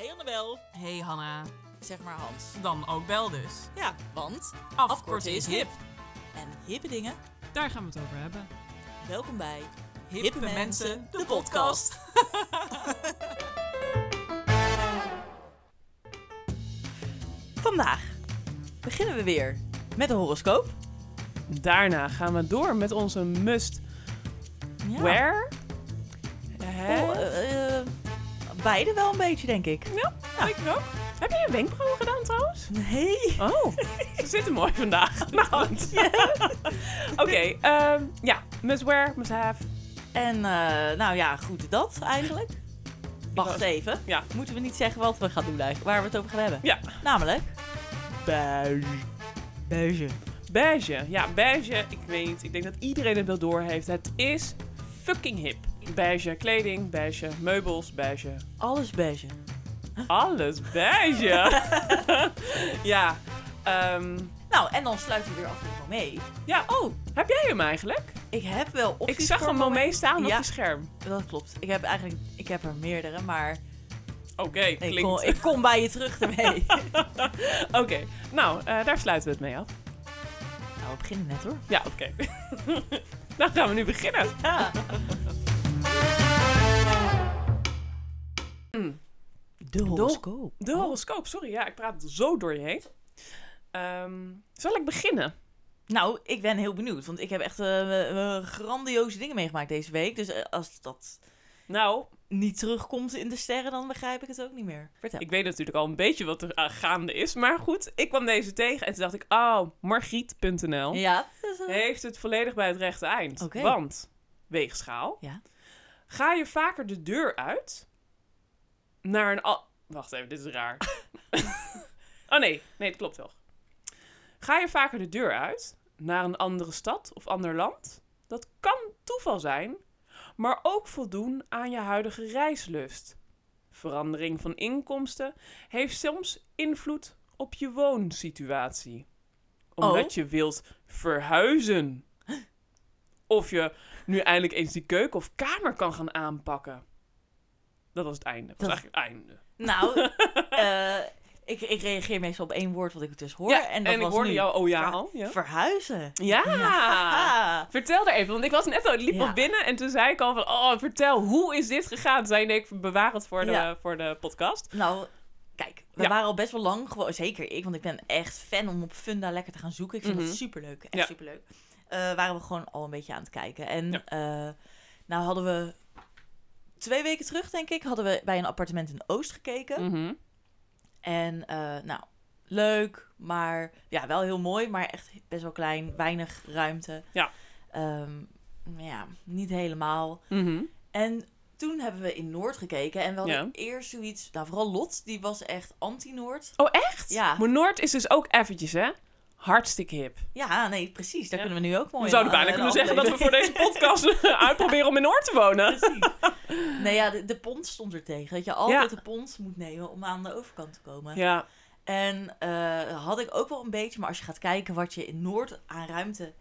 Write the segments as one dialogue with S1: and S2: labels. S1: Annabel.
S2: Hey Hanna,
S1: Zeg maar Hans.
S2: dan ook bel dus.
S1: Ja, want
S2: Afkorten is hip.
S1: En hippe dingen,
S3: Daar gaan we het over hebben.
S1: welkom bij
S2: Hippe,
S1: Vandaag beginnen we weer met een horoscoop.
S3: Daarna gaan we door met onze must
S1: Ja.
S3: where. Hè?
S1: Oh, eh, eh, beide wel een beetje, denk ik.
S3: Ja, ik ook. Heb je je wenkbrauwen gedaan trouwens?
S1: Nee.
S3: Oh, ze zitten mooi vandaag. Nou, goed. Oké, ehm, ja. Must wear, must have.
S1: En eh, nou ja, goed dat eigenlijk. Wacht
S3: wou-
S1: even.
S3: Ja.
S1: Moeten we niet zeggen wat we gaan doen eigenlijk, waar we het over gaan hebben?
S3: Ja.
S1: Namelijk,
S3: Beige.
S1: beuze.
S3: Beige. Ja, beige. Ik weet niet. Ik denk dat iedereen het wel door heeft. Het is fucking hip. Beige kleding, beige meubels, beige
S1: Alles beige.
S3: Alles beige. ja. ehm,
S1: Nou, en dan sluiten we weer af met Momé.
S3: ja.
S1: Oh,
S3: Heb jij hem eigenlijk?
S1: ik heb wel opties
S3: Ik zag
S1: voor
S3: hem al mee staan
S1: Ja.
S3: op je scherm.
S1: Dat klopt. Ik heb eigenlijk, ik heb er meerdere, maar
S3: Oké,
S1: ik
S3: klinkt.
S1: kom, ik kom bij je terug ermee.
S3: Oké, nou, eh, daar sluiten we het mee af.
S1: nou, we beginnen net hoor.
S3: Ja, oké. Dan gaan we nu beginnen.
S1: Ja.
S3: Mm.
S1: De horoscoop.
S3: De horoscoop, sorry, ja, ik praat zo door je heen. Ehm, zal ik beginnen?
S1: Nou, ik ben heel benieuwd, want ik heb echt eh, eh, grandioze dingen meegemaakt deze week. Dus eh, als dat
S3: Nou,
S1: niet terugkomt in de sterren, dan begrijp ik het ook niet meer. Vertel.
S3: ik weet natuurlijk al een beetje wat er eh, gaande is. Maar goed, ik kwam deze tegen en toen dacht ik, oh, margriet.nl.
S1: Ja. dat is, eh,
S3: heeft het volledig bij het rechte eind.
S1: Oké.
S3: Want, weegschaal,
S1: Ja.
S3: ga je vaker de deur uit naar een... al- Wacht even, dit is raar. oh nee, nee, het klopt wel. Ga je vaker de deur uit naar een andere stad of ander land? Dat kan toeval zijn, maar ook voldoen aan je huidige reislust. Verandering van inkomsten heeft soms invloed op je woonsituatie. Omdat
S1: Oh.
S3: je wilt verhuizen. Of je nu eindelijk eens die keuken of kamer kan gaan aanpakken. Dat was het einde. Dat was
S1: Dat-
S3: eigenlijk het einde.
S1: Nou, eh, ik, ik reageer meestal op één woord wat ik dus hoor. en dat
S3: ik
S1: was
S3: hoorde
S1: nu
S3: jou, oh ja,
S1: Ver-
S3: al. Ja.
S1: verhuizen.
S3: Ja.
S1: Ah.
S3: Vertel er even, want ik was net al, ik liep
S1: Ja.
S3: al binnen en toen zei ik al van, oh, vertel, hoe is dit gegaan? Zei nee, ik bewaar het voor de,
S1: Ja.
S3: voor de podcast.
S1: Nou, kijk, we
S3: Ja.
S1: waren al best wel lang gewoon, zeker ik, want ik ben echt fan om op Funda lekker te gaan zoeken. Ik vind
S3: Mhm.
S1: het superleuk, echt
S3: Ja.
S1: superleuk. Eh, waren we gewoon al een beetje aan het kijken. En
S3: Ja.
S1: eh, nou hadden we twee weken terug, denk ik, hadden we bij een appartement in Oost gekeken.
S3: Mhm.
S1: En eh, nou, leuk, maar ja, wel heel mooi, maar echt best wel klein, weinig ruimte.
S3: Ja.
S1: Ehm, ja, niet helemaal.
S3: Mhm.
S1: En toen hebben we in Noord gekeken en we hadden
S3: Ja.
S1: eerst zoiets... Nou, vooral Lot, die was echt anti-Noord.
S3: Oh, echt?
S1: Ja.
S3: Maar Noord is dus ook eventjes, hè? Hartstikke hip.
S1: Ja, nee, precies. Daar
S3: Ja.
S1: kunnen we nu ook mooi
S3: we zouden
S1: aan- eh,
S3: bijna
S1: aan
S3: kunnen zeggen dat we voor
S1: afleveren.
S3: deze podcast uitproberen om in Noord te wonen.
S1: Precies. Nee, ja, de, de pond stond er tegen. Dat je altijd
S3: Ja.
S1: de pond moet nemen om aan de overkant te komen.
S3: Ja.
S1: En eh, had ik ook wel een beetje, maar als je gaat kijken wat je in Noord aan ruimte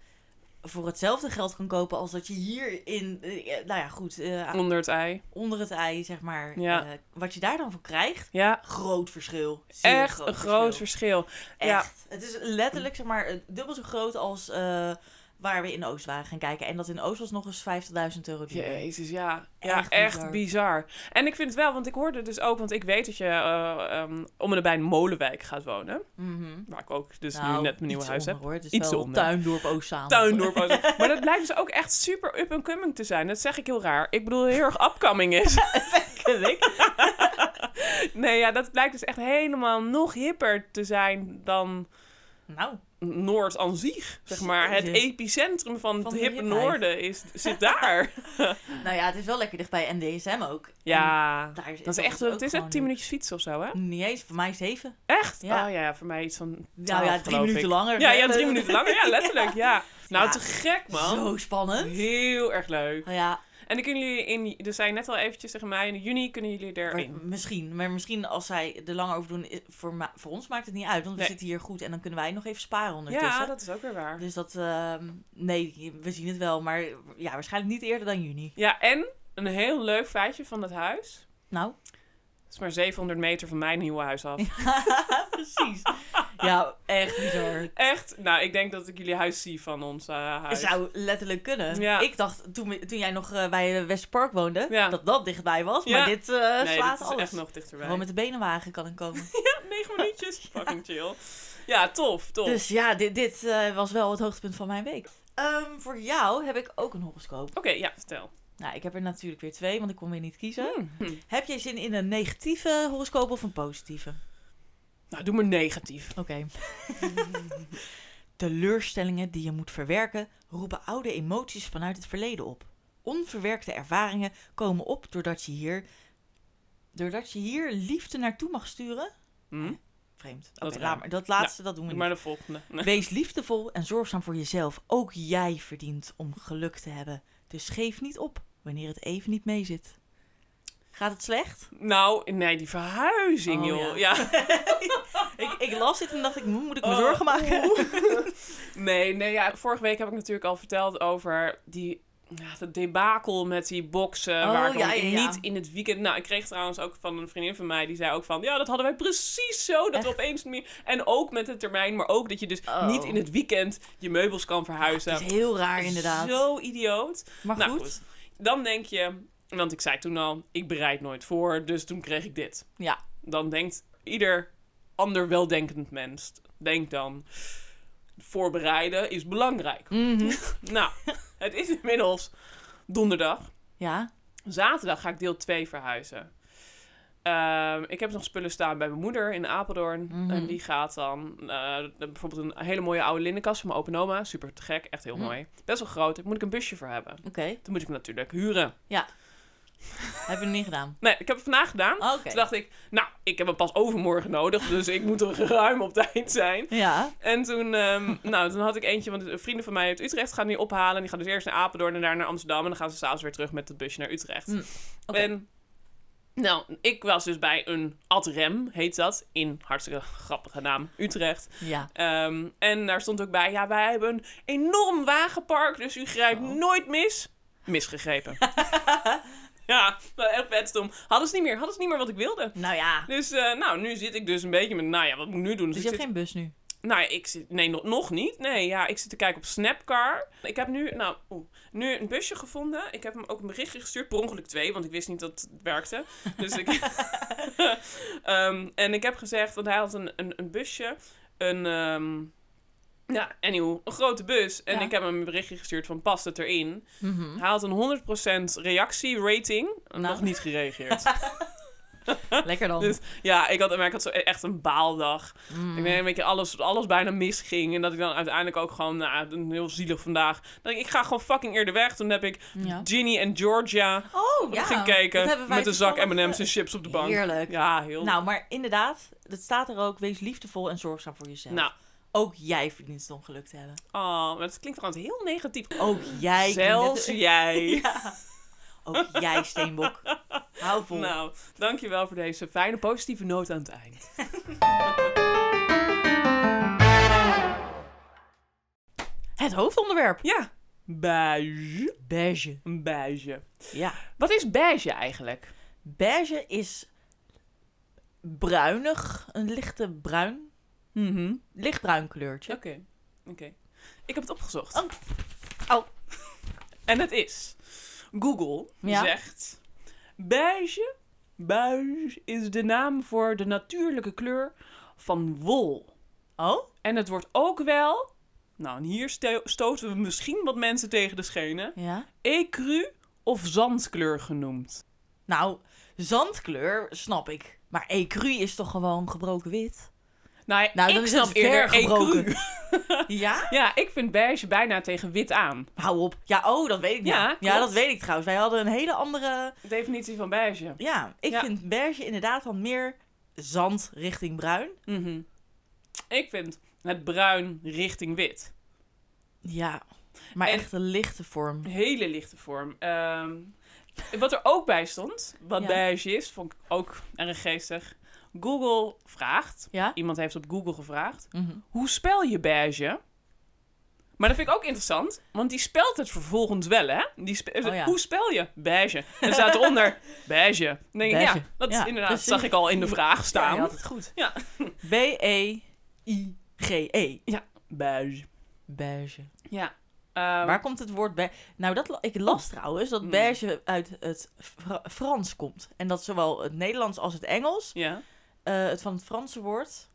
S1: voor hetzelfde geld kan kopen als dat je hier in, eh, nou ja, goed, eh,
S3: Onder het ei.
S1: onder het ei, zeg maar,
S3: Ja.
S1: eh, wat je daar dan voor krijgt,
S3: Ja.
S1: groot verschil. Zeer
S3: Echt een groot verschil. ja.
S1: Echt. Het is letterlijk, zeg maar, eh, dubbel zo groot als eh, waar we in Oost waren gaan kijken. En dat in Oost was nog eens 50.000 euro duurder.
S3: Jezus, ja. Ja, echt,
S1: Echt
S3: bizar.
S1: bizar.
S3: En ik vind het wel, want ik hoorde dus ook, want ik weet dat je eh, ehm, om en nabij een molenwijk gaat wonen.
S1: Mhm.
S3: Waar ik ook dus nu
S1: Nou,
S3: net mijn nieuwe
S1: iets
S3: huis heb.
S1: onder, Hoor. Het is
S3: Iets
S1: wel
S3: onder.
S1: tuindorp Oostzaan.
S3: Tuindorp. was het. maar dat blijkt dus ook echt super up and coming te zijn. Dat zeg ik heel raar. Ik bedoel, heel erg upcoming is. Nee, ja, dat blijkt dus echt helemaal nog hipper te zijn dan
S1: nou,
S3: Noord aan zich. Zeg maar, het
S1: Jezus.
S3: epicentrum van,
S1: Van
S3: het
S1: de
S3: hippe
S1: hipheid.
S3: noorden is, zit daar.
S1: nou ja, het is wel lekker dicht bij NDSM ook. En
S3: ja,
S1: daar
S3: dat is echt,
S1: ook
S3: het
S1: gewoon
S3: is echt 10
S1: leuk.
S3: minuutjes fietsen of zo, hè?
S1: Niet eens, voor mij zeven.
S3: Echt?
S1: Ja.
S3: Oh ja, voor mij iets van 12,
S1: Nou ja, drie
S3: geloof
S1: minuten
S3: ik.
S1: langer.
S3: Ja,
S1: hè?
S3: ja, drie minuten langer. Ja, letterlijk, ja. Nou,
S1: Ja.
S3: te gek, man.
S1: Zo spannend.
S3: Heel erg leuk.
S1: Nou ja,
S3: En dan kunnen jullie in, dus zei je net al eventjes tegen mij, in juni kunnen jullie
S1: maar
S3: erin.
S1: misschien. Maar misschien als zij er lang over doen, is- voor, ma- voor ons maakt het niet uit. Want we
S3: Nee.
S1: zitten hier goed en dan kunnen wij nog even sparen ondertussen.
S3: Ja, dat is ook weer waar.
S1: Dus dat, ehm, nee, we zien het wel. Maar ja, waarschijnlijk niet eerder dan juni.
S3: Ja, en een heel leuk feitje van dat huis.
S1: Nou,
S3: is maar 700 meter van mijn nieuwe huis af.
S1: Precies. Ja, echt bizar.
S3: Echt? Nou, ik denk dat ik jullie huis zie van ons eh,
S1: Het
S3: huis.
S1: zou letterlijk kunnen.
S3: Ja.
S1: Ik dacht toen, we- toen jij nog eh, bij Westpark woonde,
S3: Ja.
S1: dat dat dichtbij was.
S3: Ja.
S1: Maar dit eh,
S3: nee,
S1: slaat
S3: dit is
S1: alles.
S3: echt nog dichterbij.
S1: Gewoon met de benenwagen kan ik komen.
S3: Negen minuutjes. Fucking chill. Ja, tof, tof.
S1: dus ja, dit, dit eh, was wel het hoogtepunt van mijn week. Ehm, voor jou heb ik ook een horoscoop.
S3: Oké, ja, vertel.
S1: Nou, ik heb er natuurlijk weer twee, want ik kon weer niet kiezen.
S3: Hm.
S1: Heb jij zin in een negatieve horoscoop of een positieve?
S3: Nou, doe maar negatief.
S1: Oké. Teleurstellingen die je moet verwerken roepen oude emoties vanuit het verleden op. Onverwerkte ervaringen komen op doordat je hier, doordat je hier liefde naartoe mag sturen.
S3: Hm?
S1: Vreemd. Oké,
S3: Dat raam.
S1: laat maar. Dat laatste, dat doen we
S3: Doe
S1: niet.
S3: maar de volgende. Nee.
S1: Wees liefdevol en zorgzaam voor jezelf. Ook jij verdient om geluk te hebben. Dus geef niet op wanneer het even niet mee zit. Gaat het slecht?
S3: Nou, nee, die verhuizing,
S1: Oh,
S3: joh.
S1: ja.
S3: Ja.
S1: Ik, ik las dit en dacht ik, "Hm, moet ik me
S3: Oh,
S1: zorgen maken?
S3: Nee, nee, ja. Vorige week heb ik natuurlijk al verteld over die... Ja, dat debakel met die boksen,
S1: Oh,
S3: waar ik
S1: ja,
S3: ook
S1: ja, ja.
S3: niet in het weekend... Nou, ik kreeg trouwens ook van een vriendin van mij, die zei ook van... Ja, dat hadden wij precies zo, dat we
S1: Echt?
S3: opeens meer... En ook met de termijn, maar ook dat je dus
S1: Oh.
S3: niet in het weekend je meubels kan verhuizen.
S1: Het is heel raar inderdaad.
S3: Zo idioot.
S1: Maar
S3: nou,
S1: goed.
S3: goed. Dan denk je... Want ik zei toen al, ik bereid nooit voor, dus toen kreeg ik dit.
S1: Ja.
S3: dan denkt ieder ander weldenkend mens, denk dan, voorbereiden is belangrijk.
S1: Mhm.
S3: Nou, het is inmiddels donderdag.
S1: Ja.
S3: Zaterdag ga ik deel 2 verhuizen. Ehm, ik heb nog spullen staan bij mijn moeder in Apeldoorn.
S1: Mhm.
S3: En die gaat dan eh, bijvoorbeeld een hele mooie oude linnenkast van mijn open oma. Super te gek, echt heel
S1: Mhm.
S3: mooi. Best wel groot, daar moet ik een busje voor hebben.
S1: Oké,
S3: Toen moet ik hem natuurlijk huren.
S1: heb je het niet gedaan?
S3: Nee, ik heb het vandaag gedaan.
S1: Oh, Oké.
S3: Toen dacht ik, nou, ik heb hem pas overmorgen nodig, dus ik moet er ruim op tijd zijn.
S1: Ja.
S3: En toen, ehm, nou, toen had ik eentje, want een vrienden van mij uit Utrecht gaan die ophalen. Die gaan dus eerst naar Apeldoorn en daarna naar Amsterdam. En dan gaan ze s'avonds weer terug met het busje naar Utrecht.
S1: Mm, oké.
S3: En, nou, ik was dus bij een Adrem, heet dat, in hartstikke grappige naam, Utrecht.
S1: Ja.
S3: Ehm, en daar stond ook bij, ja, wij hebben een enorm wagenpark, dus u grijpt
S1: Oh.
S3: nooit mis. Misgegrepen. ja, wel echt vet stom. Hadden ze niet meer, hadden ze niet meer wat ik wilde.
S1: Nou ja.
S3: Dus, eh, nou, nu zit ik dus een beetje met, nou ja, wat moet ik nu doen?
S1: Dus
S3: ik
S1: je
S3: zit-
S1: hebt geen bus nu?
S3: nou, ik zit. Nee, nog, nog niet. Nee, ja, ik zit te kijken op Snapcar. Ik heb nu, nou, oeh, nu een busje gevonden. Ik heb hem ook een berichtje gestuurd. Per ongeluk twee, want ik wist niet dat het werkte. Dus ik. Ehm, en ik heb gezegd, want hij had een, een, een busje. Een. ehm ja, anyhow, een grote bus. En
S1: Ja.
S3: ik heb hem een berichtje gestuurd van, past het erin?
S1: Mhm.
S3: Hij had een 100% reactierating. rating
S1: Nou.
S3: Nog niet gereageerd.
S1: Lekker dan.
S3: Dus- ja, ik had, maar ik had zo e-, echt een baaldag.
S1: Mm.
S3: Ik weet een beetje alles, alles bijna misging. En dat ik dan uiteindelijk ook gewoon, nou, een heel zielig vandaag. Dat ik, ik ga gewoon fucking eerder weg. Toen heb ik
S1: Ja.
S3: Ginny en Georgia
S1: Oh ja.
S3: ging
S1: Dat
S3: kijken
S1: hebben wij
S3: met een zak
S1: toevallig,
S3: M&M's en chips op de
S1: eh,
S3: bank.
S1: Heerlijk.
S3: Ja, heel.
S1: Nou, maar inderdaad, dat staat er ook. Wees liefdevol en zorgzaam voor jezelf.
S3: Nou,
S1: Ook jij verdient het om geluk te hebben.
S3: oh, maar dat klinkt trouwens heel negatief.
S1: Ook jij.
S3: Zelfs jij.
S1: Ja. Ook jij, Steenbok. Hou vol.
S3: Nou, dankjewel voor deze fijne positieve noot aan het eind.
S1: Het hoofdonderwerp.
S3: Ja, beige.
S1: Beige.
S3: Beige.
S1: Ja.
S3: Wat is beige eigenlijk?
S1: Beige is bruinig, een lichte bruin,
S3: Mhm.
S1: lichtbruin kleurtje.
S3: Oké, oké. Ik heb het opgezocht.
S1: Oh. Oh.
S3: En het is. Google
S1: Ja.
S3: zegt... Beige, beige is de naam voor de natuurlijke kleur van wol.
S1: Oh?
S3: En het wordt ook wel... Nou, en hier sto- stoten we misschien wat mensen tegen de schenen.
S1: Ja.
S3: Ecru of zandkleur genoemd.
S1: Nou, zandkleur snap ik. Maar ecru is toch gewoon gebroken wit?
S3: Nou, ja,
S1: Nou,
S3: ik
S1: dan is het
S3: snap eerder
S1: ver gebroken.
S3: ecru.
S1: Ja?
S3: Ja, ik vind beige bijna tegen wit aan.
S1: Hou op. Ja, oh, dat weet ik
S3: Ja,
S1: niet.
S3: klopt.
S1: Ja, dat weet ik trouwens. Wij hadden een hele andere...
S3: Definitie van beige.
S1: Ja, ik
S3: Ja.
S1: vind beige inderdaad dan meer zand richting bruin.
S3: Mhm. Ik vind het bruin richting wit.
S1: Ja, maar
S3: En-
S1: echt een lichte vorm.
S3: Een hele lichte vorm. Ehm, wat er ook bij stond, wat
S1: Ja.
S3: beige is, vond ik ook erg geestig. Google vraagt,
S1: Ja?
S3: iemand heeft op Google gevraagd,
S1: Mhm.
S3: hoe spel je beige? Maar dat vind ik ook interessant, want die spelt het vervolgens wel, hè? Die spe-
S1: Oh ja.
S3: Hoe spel je? Beige. En er staat eronder beige. Dan denk ik,
S1: Beige.
S3: ja, dat is
S1: Ja,
S3: inderdaad
S1: precies.
S3: zag ik al in de vraag
S1: Ja,
S3: staan.
S1: je had het goed. E
S3: Ja.
S1: B-E-I-G-E.
S3: Beige.
S1: Beige.
S3: Ja. Ehm,
S1: Waar komt het woord bij? Nou, dat, la- ik las trouwens dat
S3: Hmm.
S1: beige uit het Fra- Frans komt. En dat zowel het Nederlands als het Engels,
S3: Ja.
S1: eh, het van het Franse woord,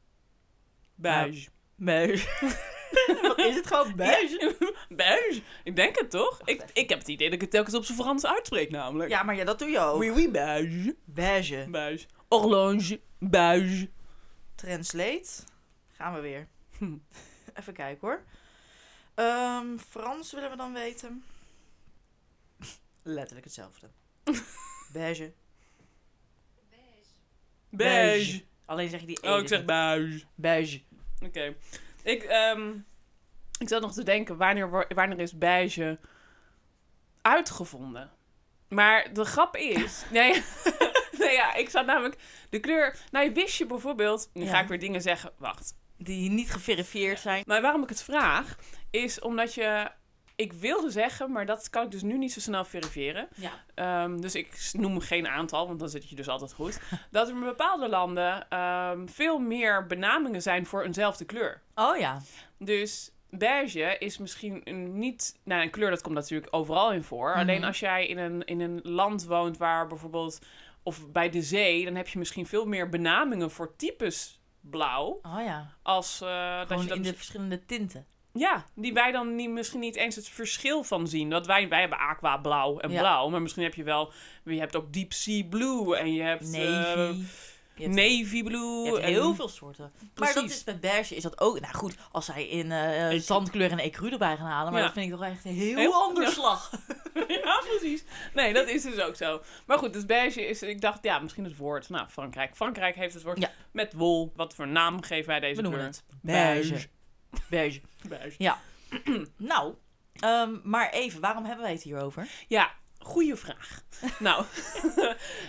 S3: Beige.
S1: beige. Wat is het gewoon beige?
S3: Beige. beige. Ik denk het toch? Ik, ik heb het idee dat ik het telkens op zijn Frans uitspreek, namelijk.
S1: Ja, maar ja, dat doe je ook.
S3: Oui, oui, beige.
S1: Beige.
S3: Beige. Orange. Beige.
S1: Translate. Gaan we weer.
S3: Hm.
S1: Even kijken hoor. Ehm, Frans willen we dan weten. Letterlijk hetzelfde. Beige.
S3: Beige.
S1: Alleen zeg je die E, dus
S3: Oh, ik zeg beige.
S1: beige.
S3: Oké. Ik, ehm, ik zat nog te denken, wanneer, wo- wanneer is beige uitgevonden? Maar de grap is... Nee, nee ja, ik zat namelijk... De kleur... Nou, wist je bijvoorbeeld... Nu ga
S1: Ja.
S3: ik weer dingen zeggen. Wacht.
S1: Die niet geverifieerd zijn.
S3: Maar waarom ik het vraag, is omdat je... Ik wilde zeggen, maar dat kan ik dus nu niet zo snel verifiëren.
S1: Ja.
S3: Ehm, dus ik noem geen aantal, want dan zit je dus altijd goed. dat er in bepaalde landen ehm, veel meer benamingen zijn voor eenzelfde kleur.
S1: Oh ja.
S3: Dus beige is misschien een niet... Nou, een kleur, dat komt natuurlijk overal in voor.
S1: Mhm.
S3: Alleen als jij in een, in een land woont waar bijvoorbeeld... Of bij de zee, dan heb je misschien veel meer benamingen voor types blauw.
S1: Oh ja.
S3: Als eh, dat
S1: Gewoon
S3: je dat
S1: in de verschillende tinten.
S3: ja, die wij dan niet, misschien niet eens het verschil van zien. Dat wij, wij hebben aqua blauw en
S1: Ja.
S3: blauw. Maar misschien heb je wel... Je hebt ook deep sea blue en je hebt... eh,
S1: Navy. Je hebt-
S3: navy blue.
S1: Je hebt
S3: en-
S1: heel veel soorten. Maar dat
S3: Precies.
S1: is met beige is dat ook. Nou goed, als zij in eh, eh, zandkleur en ecru erbij gaan halen. Maar
S3: Ja.
S1: dat vind ik toch echt een heel,
S3: Heel-
S1: ander
S3: Ja.
S1: slag.
S3: ja, precies. Nee, dat is dus ook zo. Maar goed, dus beige is... Ik dacht, ja, misschien het woord. Nou, Frankrijk. Frankrijk heeft het woord
S1: Ja.
S3: met wol. Wat voor naam geven wij
S1: We
S3: deze
S1: noemen
S3: kleur?
S1: het beige. Beige.
S3: Beige.
S1: Nou, ehm, maar even, waarom hebben wij het hierover?
S3: Ja, goede vraag. nou,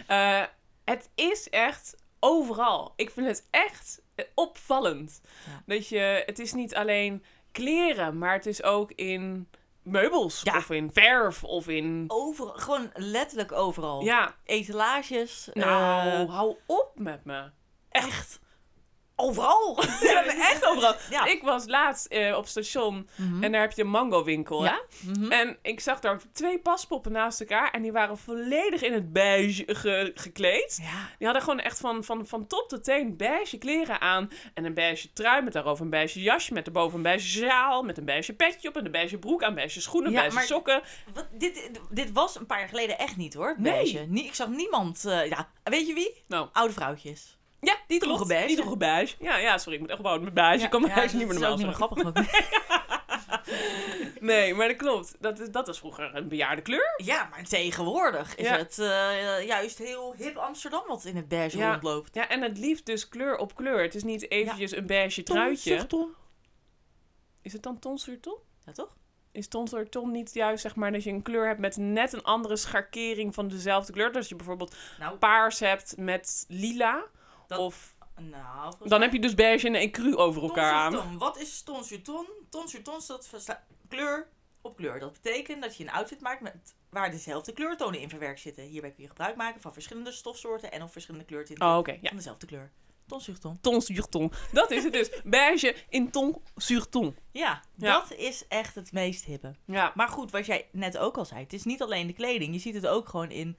S3: eh, het is echt overal. Ik vind het echt eh, opvallend.
S1: Ja.
S3: Dat je, het is niet alleen kleren, maar het is ook in meubels
S1: Ja.
S3: of in verf of in.
S1: Overal, gewoon letterlijk overal.
S3: Ja,
S1: Etalages.
S3: nou,
S1: eh,
S3: hou op met me.
S1: echt. Overal.
S3: Ja, maar echt overal.
S1: Ja.
S3: Ik was laatst eh, op station
S1: Mhm.
S3: en daar heb je een mango winkel.
S1: Ja. Mhm.
S3: En ik zag daar twee paspoppen naast elkaar en die waren volledig in het beige ge- gekleed.
S1: Ja.
S3: Die hadden gewoon echt van, van, van top tot teen beige kleren aan. En een beige trui met daarover een beige jasje. Met daarboven een beige sjaal. Met een beige petje op. En een beige broek aan. Beige schoenen.
S1: Ja,
S3: beige
S1: maar-
S3: sokken.
S1: Wat, dit, dit was een paar jaar geleden echt niet hoor.
S3: Nee.
S1: Beige. Nee. Ik zag niemand. eh, ja. Weet je wie?
S3: Nou.
S1: Oude vrouwtjes.
S3: Ja, die
S1: droegen beige.
S3: Die droegen beige. Ja, ja, sorry. Ik moet echt ophouden met beige. ik kan
S1: Ja,
S3: beige
S1: dat
S3: niet meer
S1: is
S3: normaal
S1: ook niet meer
S3: zeggen.
S1: grappig. ook.
S3: Nee, maar dat klopt. Dat, is- dat was vroeger een bejaarde kleur.
S1: ja, maar tegenwoordig is
S3: Ja.
S1: het eh, juist heel hip Amsterdam wat in het beige
S3: Ja.
S1: rondloopt.
S3: Ja, en het liefst dus kleur op kleur. Het is niet eventjes een beige truitje. Is het dan tonsuurton?
S1: Ja, toch?
S3: Is tonsuurton niet juist, zeg maar, dat je een kleur hebt met net een andere schakering van dezelfde kleur? Dus als je bijvoorbeeld
S1: Nou,
S3: paars hebt met lila.
S1: Dat-
S3: Of
S1: nou volgens
S3: dan heb je dus beige en ecru over
S1: mij-
S3: elkaar aan.
S1: Tonsurton. Wat is tonsurton? Tonsurton is dat versta- kleur op kleur. Dat betekent dat je een outfit maakt met, waar dezelfde kleurtonen in verwerkt zitten. Hierbij kun je gebruik maken van verschillende stofsoorten en of verschillende kleurtinten
S3: Oh, oké. Ja.
S1: van dezelfde kleur. Tonsurton.
S3: Ton sur ton. Dat is het dus. Beige in ton sur ton.
S1: Ja,
S3: Ja.
S1: dat is echt het meest hippe.
S3: Ja.
S1: Maar goed, wat jij net ook al zei, het is niet alleen de kleding. Je ziet het ook gewoon in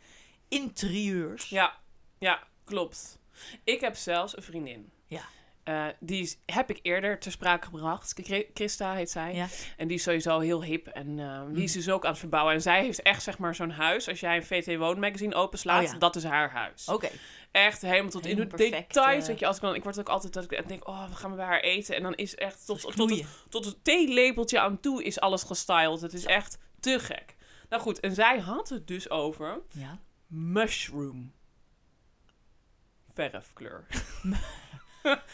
S1: interieurs.
S3: Ja. Ja, klopt. Ik heb zelfs een vriendin.
S1: Ja.
S3: Eh, die is- heb ik eerder ter sprake gebracht. Chri- Christa heet zij.
S1: Ja. Mhm.
S3: En die is sowieso heel hip. En eh, die is dus ook aan het verbouwen. En zij heeft echt zeg maar zo'n huis. Als jij een VT Woonmagazine openslaat,
S1: Oh ja.
S3: dat is haar huis.
S1: Oké.
S3: Echt helemaal tot in de
S1: Helemaal perfect,
S3: details.
S1: eh.
S3: Dat je als ik dan, ik word ook altijd dat ik denk, oh, we gaan bij haar eten. En dan is echt tot,
S1: Dus
S3: tot, het,
S1: knoeien.
S3: tot het theelepeltje aan toe is alles gestyled. Het is echt te gek. Nou goed, en zij had het dus over
S1: Ja.
S3: mushroom. Verfkleur.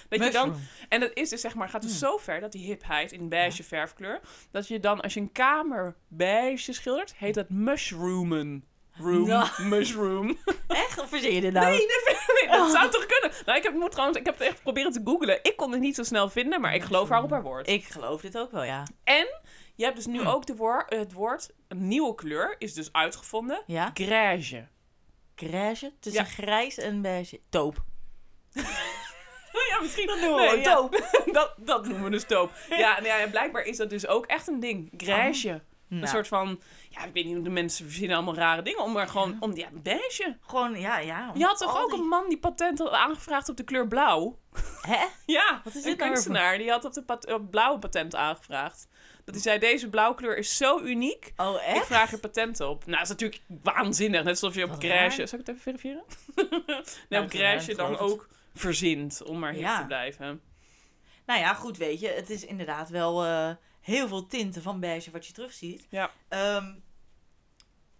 S3: dat je dan, en dat is dus zeg maar, gaat
S1: Hmm.
S3: dus zo ver dat die hipheid in beige verfkleur, dat je dan als je een kamer beige schildert, heet dat mushroomen. Room.
S1: Nou.
S3: Mushroom.
S1: Echt? Of verzin je dit nou?
S3: Nee, dat, nee, dat zou toch kunnen? Nou, ik heb, moet trouwens, ik heb het echt proberen te googlen. Ik kon het niet zo snel vinden, maar ik geloof haar op haar woord.
S1: Ik geloof dit ook wel, ja.
S3: En je hebt dus nu ook de woor- het woord, een nieuwe kleur, is dus uitgevonden.
S1: Ja?
S3: Grage.
S1: Grijze?
S3: Ja.
S1: Tussen grijs en beige. Taupe.
S3: Oh Ja, misschien.
S1: Dat noemen we een
S3: ja. dat, dat noemen we dus doop. Ja, Oh. nou ja, blijkbaar is dat dus ook echt een ding. Grage. Een
S1: Nou,
S3: soort van, ja, ik weet niet hoe de mensen verzinnen allemaal rare dingen, om maar gewoon, om, ja, beige.
S1: Gewoon, ja, ja.
S3: Je had toch
S1: al
S3: ook
S1: die-
S3: een man die patent had aangevraagd op de kleur blauw?
S1: Hè?
S3: Ja,
S1: Wat is dit
S3: een
S1: nou weer voor-
S3: kunstenaar die had op de pat- op blauwe patent aangevraagd. Dat hij zei, deze blauwkleur is zo uniek,
S1: Oh,
S3: ik
S1: echt?
S3: vraag er patent op. Nou, dat is natuurlijk waanzinnig, net zoals je op
S1: Wat
S3: Crash...
S1: raar.
S3: Zal ik het even verifiëren? nee,
S1: Nou,
S3: op
S1: ik
S3: Crash
S1: geloof
S3: dan
S1: het.
S3: ook verzint, om maar hip
S1: Ja.
S3: te blijven.
S1: Nou ja, goed, weet je. Het is inderdaad wel eh, heel veel tinten van beige wat je terugziet.
S3: Ja.
S1: Ehm,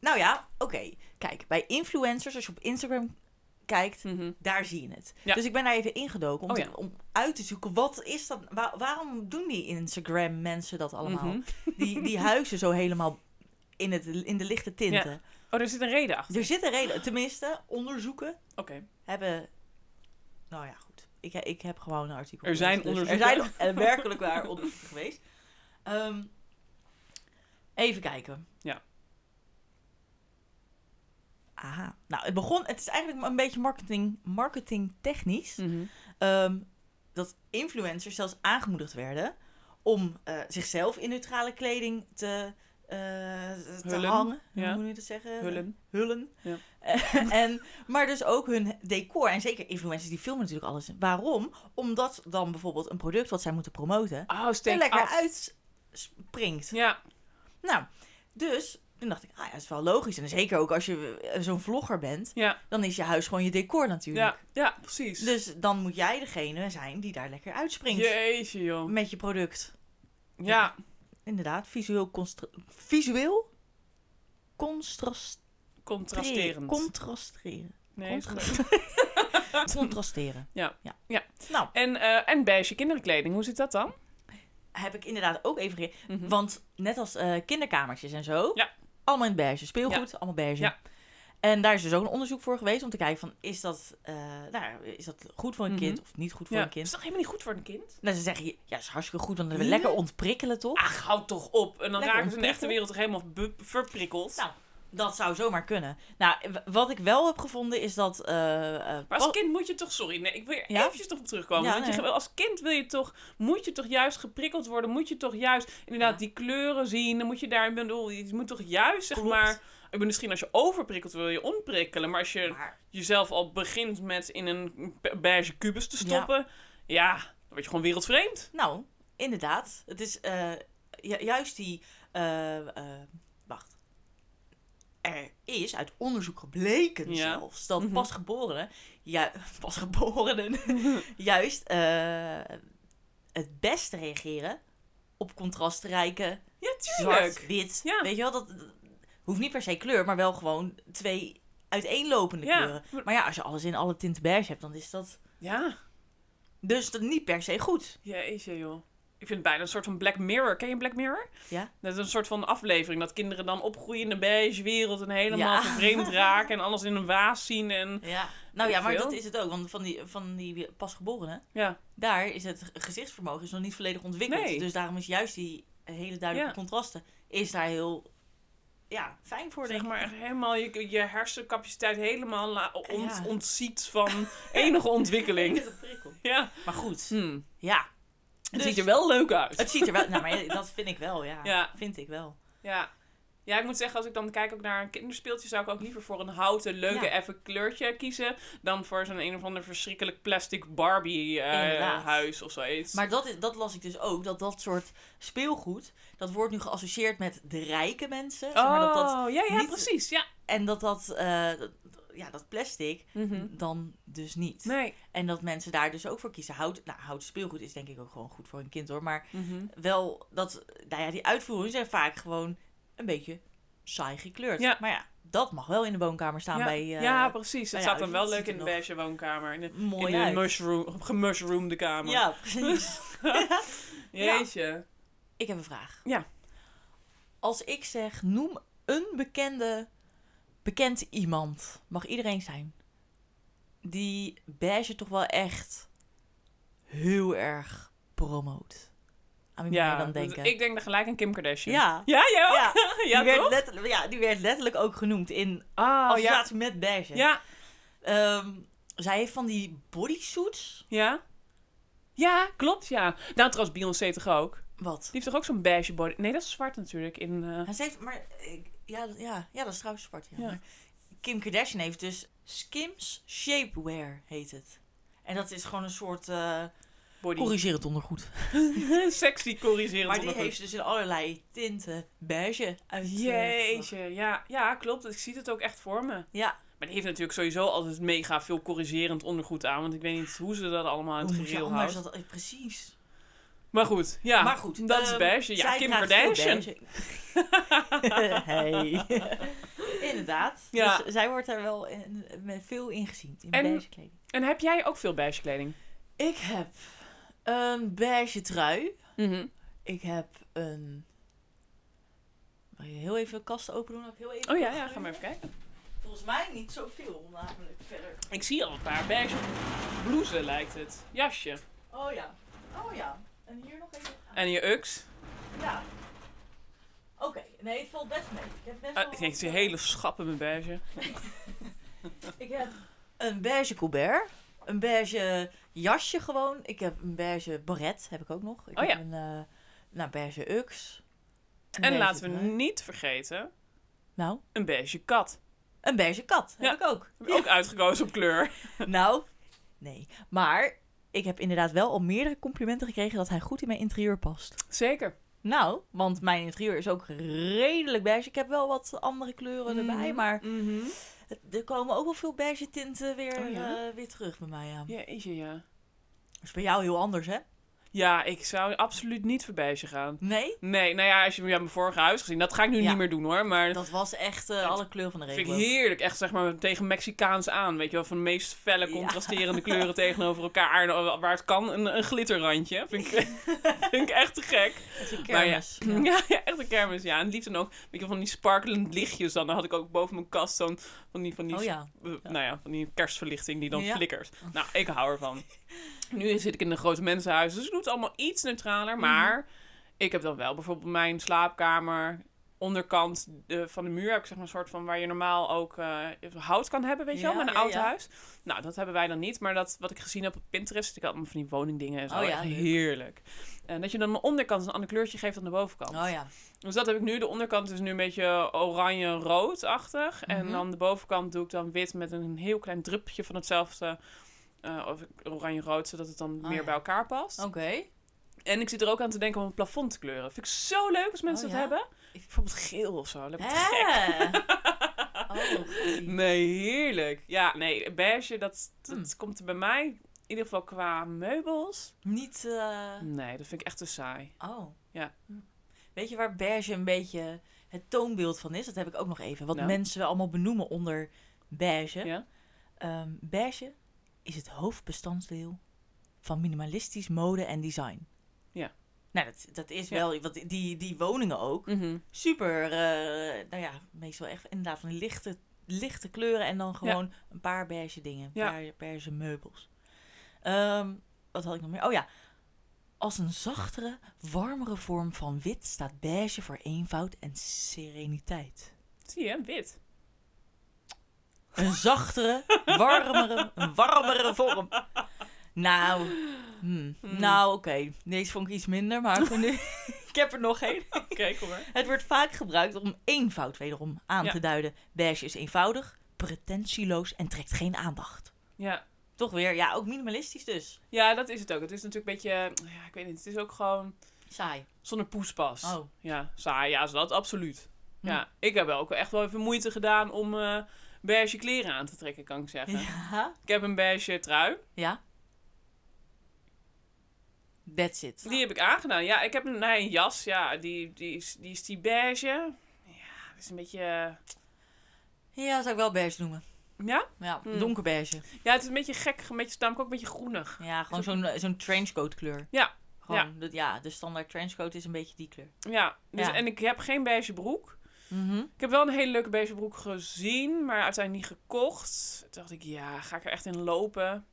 S1: nou ja, oké. Kijk, bij influencers, als je op Instagram kijkt,
S3: Mhm.
S1: daar zie je het.
S3: Ja.
S1: Dus ik ben daar even ingedoken om,
S3: Oh
S1: te-
S3: ja.
S1: om uit te zoeken, wat is dat? Wa- waarom doen die Instagram mensen dat allemaal?
S3: Mhm.
S1: Die, die huizen zo helemaal in, het, in de lichte tinten.
S3: Oh, er zit een reden achter.
S1: Er zit een reden. Tenminste, onderzoeken
S3: Oké.
S1: hebben. Nou ja, goed. Ik, he- ik heb gewoon een artikel.
S3: Er zijn
S1: gelezen, dus Er
S3: onderzoeken.
S1: zijn eh, werkelijk waar onderzoeken geweest. Ehm, even kijken.
S3: Ja.
S1: Aha. Nou, het begon. Het is eigenlijk een beetje marketing, marketing technisch.
S3: Mhm.
S1: Ehm, dat influencers zelfs aangemoedigd werden om eh, zichzelf in neutrale kleding te, eh, te
S3: Hullen,
S1: hangen.
S3: ja.
S1: Hoe moet je dat zeggen?
S3: Hullen.
S1: Hullen.
S3: Ja.
S1: en, maar dus ook hun decor. En zeker influencers die filmen natuurlijk alles. Waarom? Omdat dan bijvoorbeeld een product wat zij moeten promoten
S3: Oh,
S1: er
S3: steek
S1: eh, lekker
S3: af.
S1: uitspringt.
S3: Ja.
S1: Nou, dus toen dacht ik, ah ja, dat is wel logisch. En zeker ook als je eh, zo'n vlogger bent,
S3: Ja.
S1: dan is je huis gewoon je decor natuurlijk.
S3: Ja. ja, precies.
S1: Dus dan moet jij degene zijn die daar lekker uitspringt
S3: Jeetje, joh.
S1: met je product.
S3: Ja.
S1: Inderdaad, visueel, constra- visueel contrasteren.
S3: Contrasterend.
S1: Contrasteren.
S3: nee, is
S1: contra-
S3: goed.
S1: Contrasteren.
S3: Ja.
S1: ja.
S3: Ja.
S1: Nou,
S3: en, eh, en beige kinderkleding, hoe zit dat dan?
S1: heb ik inderdaad ook even... ge-
S3: Mhm.
S1: Want net als eh, kinderkamertjes en zo...
S3: Ja.
S1: Allemaal in beige. Speelgoed, allemaal beige.
S3: Ja.
S1: En daar is dus ook een onderzoek voor geweest om te kijken van... Is dat, eh, nou, is dat goed voor een kind of niet goed voor
S3: Mhm. ja.
S1: een kind?
S3: Is dat helemaal niet goed voor een kind?
S1: Nou, ze zeggen, ja, dat is hartstikke goed, want dan
S3: Ja.
S1: lekker ontprikkelen, toch?
S3: Ach, Ah, houd toch op. En dan
S1: Lekker
S3: raken ze in de echte
S1: ontprikkeld.
S3: wereld toch helemaal bu- verprikkeld.
S1: Nou, Dat zou zomaar kunnen. Nou, w- wat ik wel heb gevonden is dat... eh, eh,
S3: maar als
S1: pas-
S3: kind moet je toch, sorry, nee, ik wil er
S1: Ja?
S3: eventjes toch op terugkomen.
S1: Ja,
S3: want je,
S1: nee.
S3: als kind wil je toch, moet je toch juist geprikkeld worden, moet je toch juist inderdaad
S1: Ja.
S3: die kleuren zien, dan moet je daar, ik bedoel, je moet toch juist, zeg
S1: Klopt.
S3: maar, ik bedoel, misschien als je overprikkeld wil je ontprikkelen, maar als je
S1: maar-
S3: jezelf al begint met in een be- beige kubus te stoppen, ja, dan word je gewoon wereldvreemd.
S1: Nou, inderdaad. Het is eh, ju- juist die. eh, eh, wacht. Er is uit onderzoek gebleken
S3: Ja.
S1: zelfs dat
S3: Mhm.
S1: pasgeborenen. Ja, pasgeborenen. juist eh, het best reageren op contrastrijke
S3: Ja,
S1: zwart,
S3: tuurlijk.
S1: wit.
S3: Ja.
S1: Weet je wel, dat, dat hoeft niet per se kleur, maar wel gewoon twee uiteenlopende
S3: Ja.
S1: kleuren. Maar ja, als je alles in alle tinten beige hebt, dan is dat
S3: Ja,
S1: dus dat niet per se goed.
S3: jeetje joh. Ik vind het bijna een soort van Black Mirror. Ken je Black Mirror?
S1: Ja?
S3: Dat is een soort van aflevering. Dat kinderen dan opgroeien in de beige wereld en helemaal
S1: Ja.
S3: vervreemd raken en alles in een waas zien. En
S1: Ja, nou
S3: Weet
S1: ja,
S3: ik
S1: maar
S3: veel.
S1: dat is het ook. Want van die, van die pasgeborenen,
S3: ja,
S1: daar is het gezichtsvermogen is nog niet volledig ontwikkeld.
S3: Nee.
S1: Dus daarom is juist die hele duidelijke
S3: Ja.
S1: contrasten is daar heel ja, fijn voor,
S3: zeg
S1: denk ik.
S3: maar echt helemaal je, je hersencapaciteit helemaal la- ont,
S1: Ja.
S3: ontziet van enige ontwikkeling. Ja.
S1: Maar goed,
S3: Hm.
S1: ja.
S3: Het
S1: Dus-
S3: ziet er wel leuk uit.
S1: Het ziet er wel... nou, maar dat vind ik wel, ja.
S3: Ja.
S1: Vind ik wel.
S3: Ja. Ja, ik moet zeggen, als ik dan kijk ook naar een kinderspeeltje, zou ik ook liever voor een houten, leuke,
S1: Ja.
S3: effen kleurtje kiezen. Dan voor zo'n een of ander verschrikkelijk plastic Barbie eh,
S1: Inderdaad.
S3: huis of zoiets.
S1: Maar dat, is, dat las ik dus ook, dat dat soort speelgoed, dat wordt nu geassocieerd met de rijke mensen. Zeg maar, dat dat,
S3: Oh, ja, ja,
S1: niet-
S3: precies. Ja.
S1: en dat dat, eh, dat, ja, dat plastic
S3: Mhm.
S1: dan dus niet.
S3: Nee.
S1: En dat mensen daar dus ook voor kiezen. Hout, nou, houten speelgoed is denk ik ook gewoon goed voor een kind hoor. Maar
S3: Mhm.
S1: wel dat, nou ja, die uitvoeringen zijn vaak gewoon een beetje saai gekleurd.
S3: Ja.
S1: Maar ja, dat mag wel in de woonkamer staan bij eh,
S3: ja, precies. Het
S1: nou ja,
S3: staat dan
S1: dus
S3: wel
S1: dat
S3: leuk
S1: ziet er
S3: in de
S1: nog
S3: beige woonkamer. In de,
S1: mooi
S3: in de
S1: uit.
S3: mushroom, gemushroomde kamer.
S1: Ja, precies.
S3: Jeetje.
S1: ik heb een vraag.
S3: Ja.
S1: Als ik zeg, noem een bekende bekend iemand, mag iedereen zijn, die beige toch wel echt heel erg promoot. Aan wie moet je dan
S3: dat-
S1: denken?
S3: dus ik denk dan gelijk aan Kim Kardashian.
S1: Ja.
S3: Ja, joh?
S1: Ja.
S3: Ja,
S1: die werd
S3: toch?
S1: letterlijk- ja, die werd letterlijk ook genoemd in
S3: Ah, ja.
S1: associatie met beige.
S3: Ja,
S1: Ehm, zij heeft van die bodysuits.
S3: ja. Ja, klopt, ja. Nou, trouwens, Beyoncé toch ook?
S1: Wat?
S3: Die heeft toch ook zo'n beige body? Nee, dat is zwart natuurlijk. In, eh,
S1: Ja, ze heeft, maar ik- ja, dat- ja, ja, dat is trouwens zwart. Ja.
S3: Ja.
S1: Maar Kim Kardashian heeft dus Skims Shapewear, heet het. En dat is gewoon een soort eh
S3: body.
S1: corrigeer het ondergoed.
S3: Sexy corrigerend.
S1: Maar die
S3: ondergoed.
S1: heeft ze dus in allerlei tinten beige uit. eh,
S3: Jeetje, ja, ja, klopt. Ik zie het ook echt voor me.
S1: Ja,
S3: Maar die heeft natuurlijk sowieso altijd mega veel corrigerend ondergoed aan. Want ik weet niet hoe ze dat allemaal in
S1: hoe
S3: Oh, het
S1: moet je
S3: gereel
S1: anders
S3: houdt.
S1: dat... eh, Precies.
S3: Maar goed, ja.
S1: maar goed.
S3: Dat is
S1: ehm,
S3: beige. Ja,
S1: zij
S3: Kim
S1: draagt
S3: Kardashian.
S1: veel beige. hey. Inderdaad.
S3: Ja.
S1: Dus zij wordt daar wel in, met veel in gezien. In
S3: En-
S1: beige kleding.
S3: En heb jij ook veel beige kleding?
S1: Ik heb een beige trui.
S3: Mhm.
S1: Ik heb een. Wil je heel even de kast open doen? Wil ik Heel even
S3: Oh ja, ja, ga maar even kijken.
S1: Volgens mij niet zoveel, namelijk verder.
S3: Ik zie al een paar beige blouses lijkt het. Jasje.
S1: Oh ja. Oh ja. En hier nog even.
S3: En je UX.
S1: Ja. Oké, nee, het valt best mee. Ik heb best
S3: Ah, ik denk, die hele schappen met beige.
S1: Ik heb een beige colbert. Een beige jasje gewoon. Ik heb een beige baret, heb ik ook nog. Ik
S3: Oh
S1: heb
S3: ja.
S1: een eh, nou, beige ux. Een
S3: En
S1: beige
S3: laten we
S1: trui.
S3: niet vergeten,
S1: Nou,
S3: een beige kat.
S1: een beige kat heb
S3: Ja. Oh,
S1: ik ook.
S3: Heb ik ook uitgekozen op kleur.
S1: Nou, nee. Maar ik heb inderdaad wel al meerdere complimenten gekregen dat hij goed in mijn interieur past.
S3: Zeker.
S1: Nou, want mijn interieur is ook redelijk beige. Ik heb wel wat andere kleuren erbij,
S3: Mhm,
S1: maar
S3: mhm.
S1: het- er komen ook wel veel beige tinten weer,
S3: Oh ja?
S1: eh, weer terug bij mij aan.
S3: Jeetje, ja.
S1: Dat is bij jou heel anders, hè?
S3: Ja, ik zou absoluut niet voor beige gaan.
S1: Nee?
S3: Nee, nou ja, als je me hebt mijn vorige huis gezien, dat ga ik nu
S1: Ja.
S3: niet meer doen hoor. Maar dat
S1: Dat was echt eh,
S3: Het-
S1: alle kleuren van de
S3: vind ik
S1: regenboog.
S3: heerlijk. Echt zeg maar tegen Mexicaans aan. Weet je wel, van de meest felle
S1: Ja.
S3: contrasterende kleuren tegenover elkaar. En eh, waar het kan, een, een glitterrandje. Vind ik, vind ik echt te gek.
S1: Het is een
S3: Maar ja.
S1: kermis.
S3: Ja.
S1: ja.
S3: ja, echt een kermis. Ja, en het liefst dan ook, weet je wel, van die sparkelend lichtjes dan. Dan had ik ook boven mijn kast zo'n, van die, van die,
S1: Oh ja.
S3: eh, nou ja, van die kerstverlichting die dan
S1: Ja.
S3: flikkert. Nou, ik hou ervan. Nu zit ik in een groot mensenhuis, dus ik doe het allemaal iets neutraler.
S1: Mhm.
S3: Maar ik heb dan wel bijvoorbeeld mijn slaapkamer, onderkant eh, van de muur heb ik zeg maar een soort van waar je normaal ook eh, hout kan hebben, weet je wel,
S1: Ja,
S3: met een
S1: ja,
S3: oud
S1: ja.
S3: huis. Nou, dat hebben wij dan niet, maar dat wat ik gezien heb op Pinterest, ik had allemaal van die woningdingen en zo,
S1: Oh ja,
S3: echt
S1: leuk.
S3: heerlijk. En dat je dan de onderkant een ander kleurtje geeft dan de bovenkant.
S1: Oh ja.
S3: Dus dat heb ik nu. De onderkant is nu een beetje oranje-roodachtig. En
S1: Mhm.
S3: dan de bovenkant doe ik dan wit met een heel klein drupje van hetzelfde eh, of oranje-rood, zodat het dan
S1: Oh,
S3: meer
S1: ja.
S3: bij elkaar past.
S1: Oké.
S3: En ik zit er ook aan te denken om een plafond te kleuren. Vind ik zo leuk als mensen
S1: Oh,
S3: dat
S1: ja?
S3: hebben. Bijvoorbeeld geel of zo. Lekker
S1: Hè?
S3: gek.
S1: Oh, goeie.
S3: Nee, heerlijk. Ja, nee, beige, dat, dat
S1: Hmm.
S3: komt er bij mij. In ieder geval qua meubels.
S1: Niet... eh,
S3: Nee, dat vind ik echt te saai.
S1: Oh.
S3: Ja.
S1: Hm. Weet je waar beige een beetje het toonbeeld van is? Dat heb ik ook nog even. Wat
S3: Nou?
S1: mensen wel allemaal benoemen onder beige.
S3: Ja?
S1: Ehm, beige is het hoofdbestanddeel van minimalistisch mode en design.
S3: Ja.
S1: Nou, dat, dat is
S3: Ja.
S1: wel... Want die, die woningen ook.
S3: Mhm.
S1: Super, eh, nou ja, meestal echt inderdaad van die lichte, lichte kleuren. En dan gewoon een paar beige dingen. Een
S3: Ja.
S1: paar beige meubels. Ehm, wat had ik nog meer? Oh ja. Als een zachtere, warmere vorm van wit staat beige voor eenvoud en sereniteit.
S3: Zie je, wit.
S1: Een zachtere, warmere, een warmere vorm. Nou, hm,
S3: Hmm.
S1: nou oké. Deze vond ik iets minder, maar voor nu, ik heb er nog één.
S3: Oké, kom maar.
S1: Het wordt vaak gebruikt om eenvoud wederom aan
S3: Ja.
S1: te duiden. Beige is eenvoudig, pretentieloos en trekt geen aandacht.
S3: Ja,
S1: Toch weer, ja, ook minimalistisch dus.
S3: Ja, dat is het ook. Het is natuurlijk een beetje, eh, ja, ik weet niet, het is ook gewoon
S1: Saai.
S3: zonder poespas.
S1: Oh.
S3: Ja, saai, ja, is dat absoluut.
S1: Hm.
S3: Ja, ik heb wel ook echt wel even moeite gedaan om eh beige kleren aan te trekken, kan ik zeggen.
S1: Ja.
S3: Ik heb een beige trui,
S1: Ja. That's it.
S3: die heb ik aangedaan. Ja, ik heb een, nee, een jas, ja, die, die, is, die is die beige. Ja, dat is een beetje, eh,
S1: Ja, zou ik wel beige noemen.
S3: ja?
S1: Ja,
S3: Hmm.
S1: donkerbeige.
S3: Ja, het is een beetje gek, een beetje, namelijk ook een beetje groenig.
S1: Ja, gewoon zo'n eh, zo'n trenchcoat kleur.
S3: Ja.
S1: Gewoon, ja. De, ja, de standaard trenchcoat is een beetje die kleur.
S3: Ja, dus,
S1: Ja.
S3: en ik heb geen beige broek.
S1: Mhm.
S3: Ik heb wel een hele leuke bezenbroek gezien, maar uiteindelijk niet gekocht. Toen dacht ik, ja, ga ik er echt in lopen?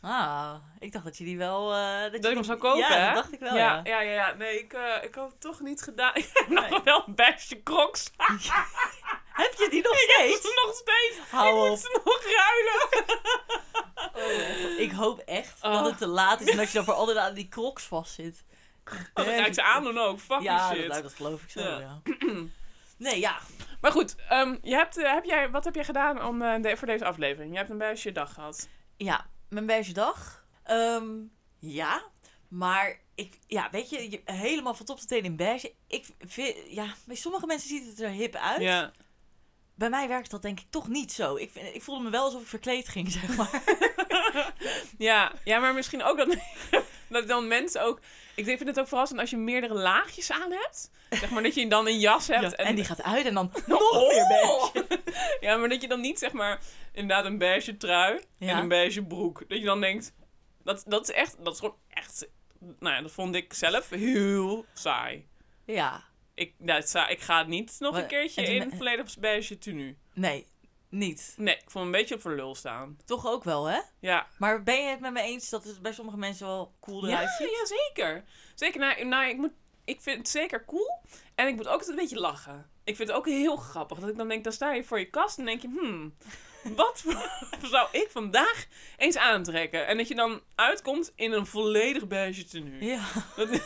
S1: Ah, ik dacht dat je die wel... eh, dat
S3: Dat
S1: je
S3: ik hem zou kopen,
S1: Ja,
S3: hè?
S1: dat dacht ik wel,
S3: ja,
S1: ja.
S3: ja, ja, ja. Nee, ik, eh, ik had het toch niet gedaan. Ik heb
S1: Nee.
S3: nog wel een besje crocs.
S1: Heb je die nog steeds?
S3: nog steeds. ik
S1: Hou
S3: moet
S1: op.
S3: ze nog ruilen.
S1: Ik hoop echt
S3: Oh.
S1: dat het te laat is en dat je dan voor altijd aan die crocs vastzit.
S3: Oh, dan ga ik ze aan doen ook. Fucking
S1: Ja,
S3: shit.
S1: dat, dat geloof ik zo,
S3: Ja.
S1: ja. Nee, ja.
S3: Maar goed, ehm, je hebt, eh, heb jij, wat heb jij gedaan om, eh, de- voor deze aflevering? Je hebt een beige dag gehad.
S1: Ja, mijn beige dag. Ehm, ja, maar ik, ja, weet je, je- helemaal van top tot teen in beige. Ik vind, ja, bij sommige mensen ziet het er hip uit.
S3: Ja.
S1: Bij mij werkt dat denk ik toch niet zo. Ik, vind- ik voelde me wel alsof ik verkleed ging, zeg maar.
S3: Ja, ja, maar misschien ook dat, dat dan mensen ook... Ik vind het ook verrassend als je meerdere laagjes aan hebt. Zeg maar dat je dan een jas hebt.
S1: Ja, en, die gaat uit en dan
S3: nog
S1: meer beige.
S3: Oh. Ja, maar dat je dan niet zeg maar inderdaad een beige trui en
S1: Ja.
S3: een beige broek. Dat je dan denkt, dat, dat is echt, dat is gewoon echt... Nou ja, dat vond ik zelf heel saai.
S1: ja.
S3: Ik, nou, het saai- ik ga niet nog
S1: Maar-
S3: een keertje
S1: en toen-
S3: in volledig beige tenue.
S1: Nee, niet.
S3: Nee, ik vond me een beetje op voor lul staan.
S1: Toch ook wel, hè?
S3: Ja,
S1: Maar ben je het met me eens dat het bij sommige mensen wel cool eruit
S3: ja,
S1: ziet?
S3: ja, zeker. Zeker, nou, nou, ik, moet, ik vind het zeker cool. En ik moet ook altijd een beetje lachen. Ik vind het ook heel grappig. Dat ik dan denk, dan sta je voor je kast en denk je... Hmm, wat voor- zou ik vandaag eens aantrekken? En dat je dan uitkomt in een volledig beige tenue.
S1: Ja.
S3: Dat-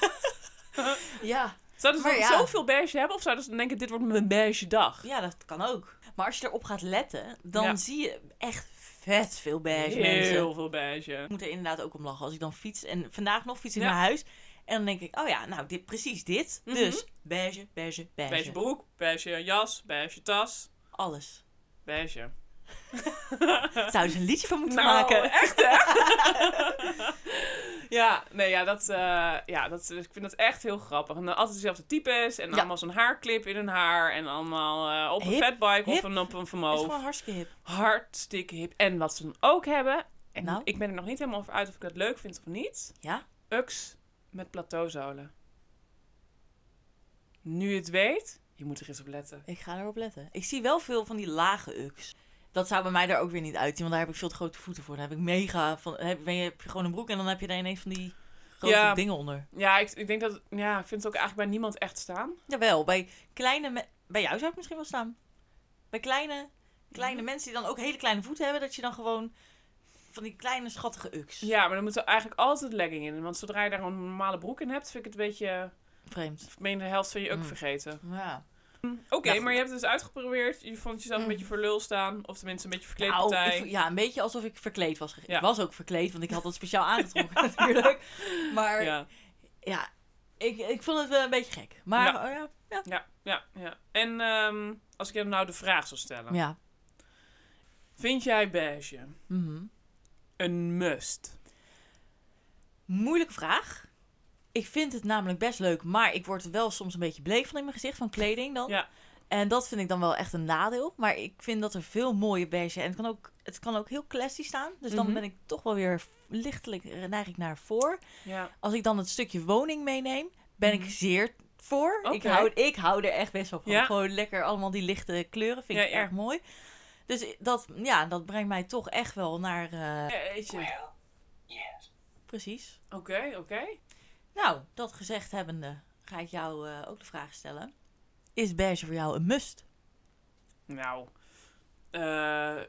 S1: ja.
S3: Zouden ze
S1: Maar
S3: dan
S1: ja.
S3: zoveel beige hebben? Of zouden ze dan denken, dit wordt mijn beige dag?
S1: Ja, dat kan ook. Maar als je erop gaat letten, dan
S3: Ja.
S1: zie je echt vet veel beige mensen.
S3: Heel veel beige.
S1: Ik moet er inderdaad ook om lachen als ik dan fiets. En vandaag nog fiets ik
S3: Ja.
S1: naar huis. En dan denk ik, oh ja, nou, dit, precies dit.
S3: Mhm.
S1: Dus beige, beige, beige.
S3: Beige broek, beige jas, beige tas,
S1: Alles.
S3: beige.
S1: Zou je er een liedje van moeten
S3: Nou,
S1: maken?
S3: echt hè? ja, nee, ja, dat, eh, ja dat, is- ik vind dat echt heel grappig. En dan altijd dezelfde types en
S1: Ja.
S3: allemaal zo'n haarclip in hun haar en allemaal eh, op een
S1: Hip,
S3: fatbike of
S1: hip.
S3: een, op een
S1: Dat is
S3: vermogen.
S1: gewoon hartstikke hip.
S3: Hartstikke hip. En wat ze dan ook hebben, en
S1: Nou?
S3: ik ben er nog niet helemaal over uit of ik dat leuk vind of niet,
S1: Ja?
S3: UX met plateauzolen. Nu je het weet, je moet er eens op letten.
S1: Ik ga erop letten. Ik zie wel veel van die lage uks. Dat zou bij mij er ook weer niet uitzien, want daar heb ik veel te grote voeten voor. Dan heb ik mega van. Heb, ben je, heb je gewoon een broek en dan heb je daar ineens van die grote
S3: Ja.
S1: dingen onder.
S3: Ja, ik, ik denk dat, ja, ik vind het ook eigenlijk bij niemand echt staan.
S1: Jawel, bij kleine. me- Bij jou zou het misschien wel staan. Bij kleine, kleine mensen die dan ook hele kleine voeten hebben, dat je dan gewoon van die kleine schattige uks.
S3: Ja, maar dan moet er eigenlijk altijd legging in. Want zodra je daar een normale broek in hebt, vind ik het een beetje...
S1: Vreemd.
S3: Ik meen de helft van je ook
S1: Mm. Nou,
S3: vergeten.
S1: Ja.
S3: Oké,
S1: Ja, goed.
S3: maar je hebt het dus uitgeprobeerd. Je vond jezelf een beetje voor lul staan. Of tenminste een beetje
S1: Mm. Nou,
S3: verkleedpartij.
S1: ik vo- ja, een beetje alsof ik verkleed was. ge-
S3: Ja.
S1: Ik was ook verkleed, want ik had dat speciaal aangetrokken natuurlijk. Maar ja,
S3: ja,
S1: ik, ik vond het wel een beetje gek. Maar
S3: Ja.
S1: oh ja. ja.
S3: ja, ja, ja. En ehm, als ik je nou de vraag zou stellen.
S1: ja.
S3: Vind jij beige
S1: Mhm.
S3: een must?
S1: Moeilijke vraag. Ik vind het namelijk best leuk, maar ik word er wel soms een beetje bleek van in mijn gezicht, van kleding dan.
S3: Ja.
S1: En dat vind ik dan wel echt een nadeel. Maar ik vind dat er veel mooie beige en het kan ook, het kan ook heel classy staan. Dus dan
S3: Mhm.
S1: ben ik toch wel weer lichtelijk eh, neig ik naar voor.
S3: Ja.
S1: Als ik dan het stukje woning meeneem, ben ik
S3: Mhm.
S1: zeer voor. Ik,
S3: Oké.
S1: hou, ik hou er echt best wel van.
S3: Ja.
S1: Gewoon lekker allemaal die lichte kleuren vind
S3: Ja,
S1: ik
S3: ja.
S1: erg mooi. Dus dat, ja, dat brengt mij toch echt wel naar... eh,
S3: Jeetje. Oké,
S1: precies.
S3: oké.
S1: Nou, dat gezegd hebbende, ga ik jou eh, ook de vraag stellen. Is beige voor jou een must?
S3: Nou. eh,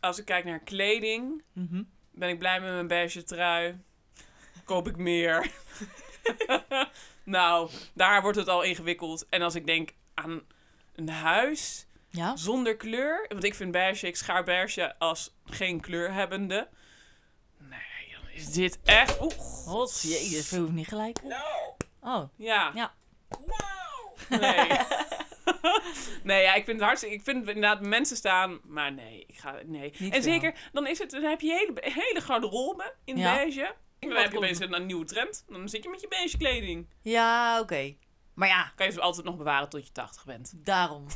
S3: als ik kijk naar kleding,
S1: Mhm.
S3: ben ik blij met mijn beige trui. Koop ik meer. nou, daar wordt het al ingewikkeld. En als ik denk aan een huis
S1: Ja?
S3: zonder kleur. Want ik vind beige, ik schaar beige als geen kleur hebbende. Nee, dan is dit echt... Oeh,
S1: God, jezus, we hoeven niet gelijk. Oh,
S3: Ja.
S1: Ja.
S3: Nee. nee, ja, ik vind het hartstikke... Ik vind het inderdaad mensen staan, maar nee, ik ga... Nee.
S1: Niet
S3: en
S1: wel.
S3: zeker, dan, is het, dan heb je hele, hele garderobe in
S1: Ja.
S3: beige. Dan
S1: Wat
S3: heb je
S1: cool.
S3: opeens een, een nieuwe trend. Dan zit je met je beige kleding.
S1: ja, oké. Maar ja,
S3: Kan je ze altijd nog bewaren tot je 80 bent.
S1: daarom.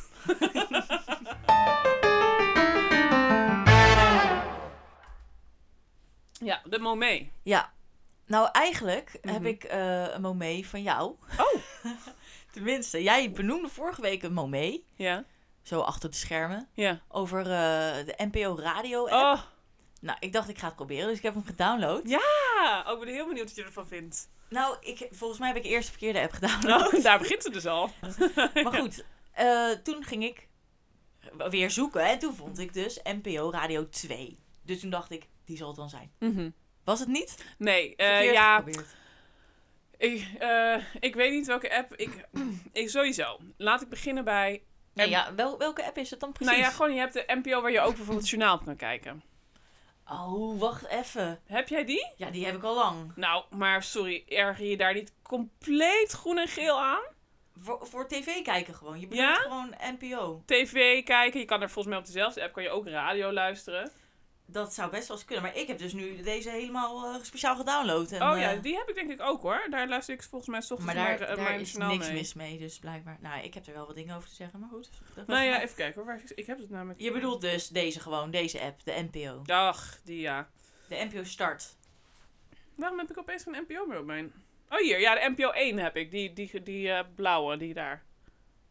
S3: Ja, de Momé.
S1: Ja. Nou, eigenlijk heb
S3: Mhm.
S1: ik eh, een momee van jou.
S3: Oh.
S1: Tenminste, jij benoemde vorige week een momee,
S3: Ja.
S1: zo achter de schermen,
S3: Ja.
S1: over eh, de NPO Radio app.
S3: Oh.
S1: Nou, ik dacht ik ga het proberen, dus ik heb hem gedownload.
S3: Ah, oh, ik ben heel benieuwd wat je ervan vindt.
S1: Nou, ik, volgens mij heb ik eerst de verkeerde app gedownload.
S3: Nou, daar begint ze dus al.
S1: Maar goed, eh, toen ging ik weer zoeken en toen vond ik dus NPO Radio 2. Dus toen dacht ik, die zal het dan zijn. Was het niet?
S3: Nee, eh,
S1: Mhm. Verkeerd
S3: ja,
S1: geprobeerd.
S3: ik, eh, ik weet niet welke app. Ik, ik sowieso. Laat ik beginnen bij.
S1: Nee,
S3: en-
S1: ja, wel, welke app is het dan precies?
S3: Nou ja, gewoon je hebt de NPO waar je ook bijvoorbeeld het journaal op kan kijken.
S1: Oh, wacht even.
S3: Heb jij die?
S1: Ja, die heb ik al lang.
S3: Nou, maar sorry, erger je daar niet compleet groen en geel aan?
S1: Voor, voor tv kijken gewoon. Je bedoelt
S3: Ja?
S1: gewoon NPO.
S3: TV kijken, je kan er volgens mij op dezelfde app kan je ook radio luisteren.
S1: Dat zou best wel eens kunnen. Maar ik heb dus nu deze helemaal eh, speciaal gedownload. En,
S3: oh ja,
S1: eh,
S3: die heb ik denk ik ook hoor. Daar luister ik volgens mij 's ochtends
S1: maar daar,
S3: mijn, eh,
S1: daar
S3: mijn
S1: is
S3: journaal
S1: niks
S3: mee.
S1: mis mee, dus blijkbaar. Nou, ik heb er wel wat dingen over te zeggen, maar goed. Dat
S3: Nou
S1: was-
S3: ja, even kijken hoor. Waar is- Ik heb het namelijk.
S1: Je bedoelt dus deze gewoon, deze app, de NPO.
S3: Dag, die ja.
S1: De NPO Start.
S3: Waarom heb ik opeens geen NPO meer op mijn... Oh, hier. Ja, de NPO 1 heb ik. Die, die, die eh, blauwe, die daar.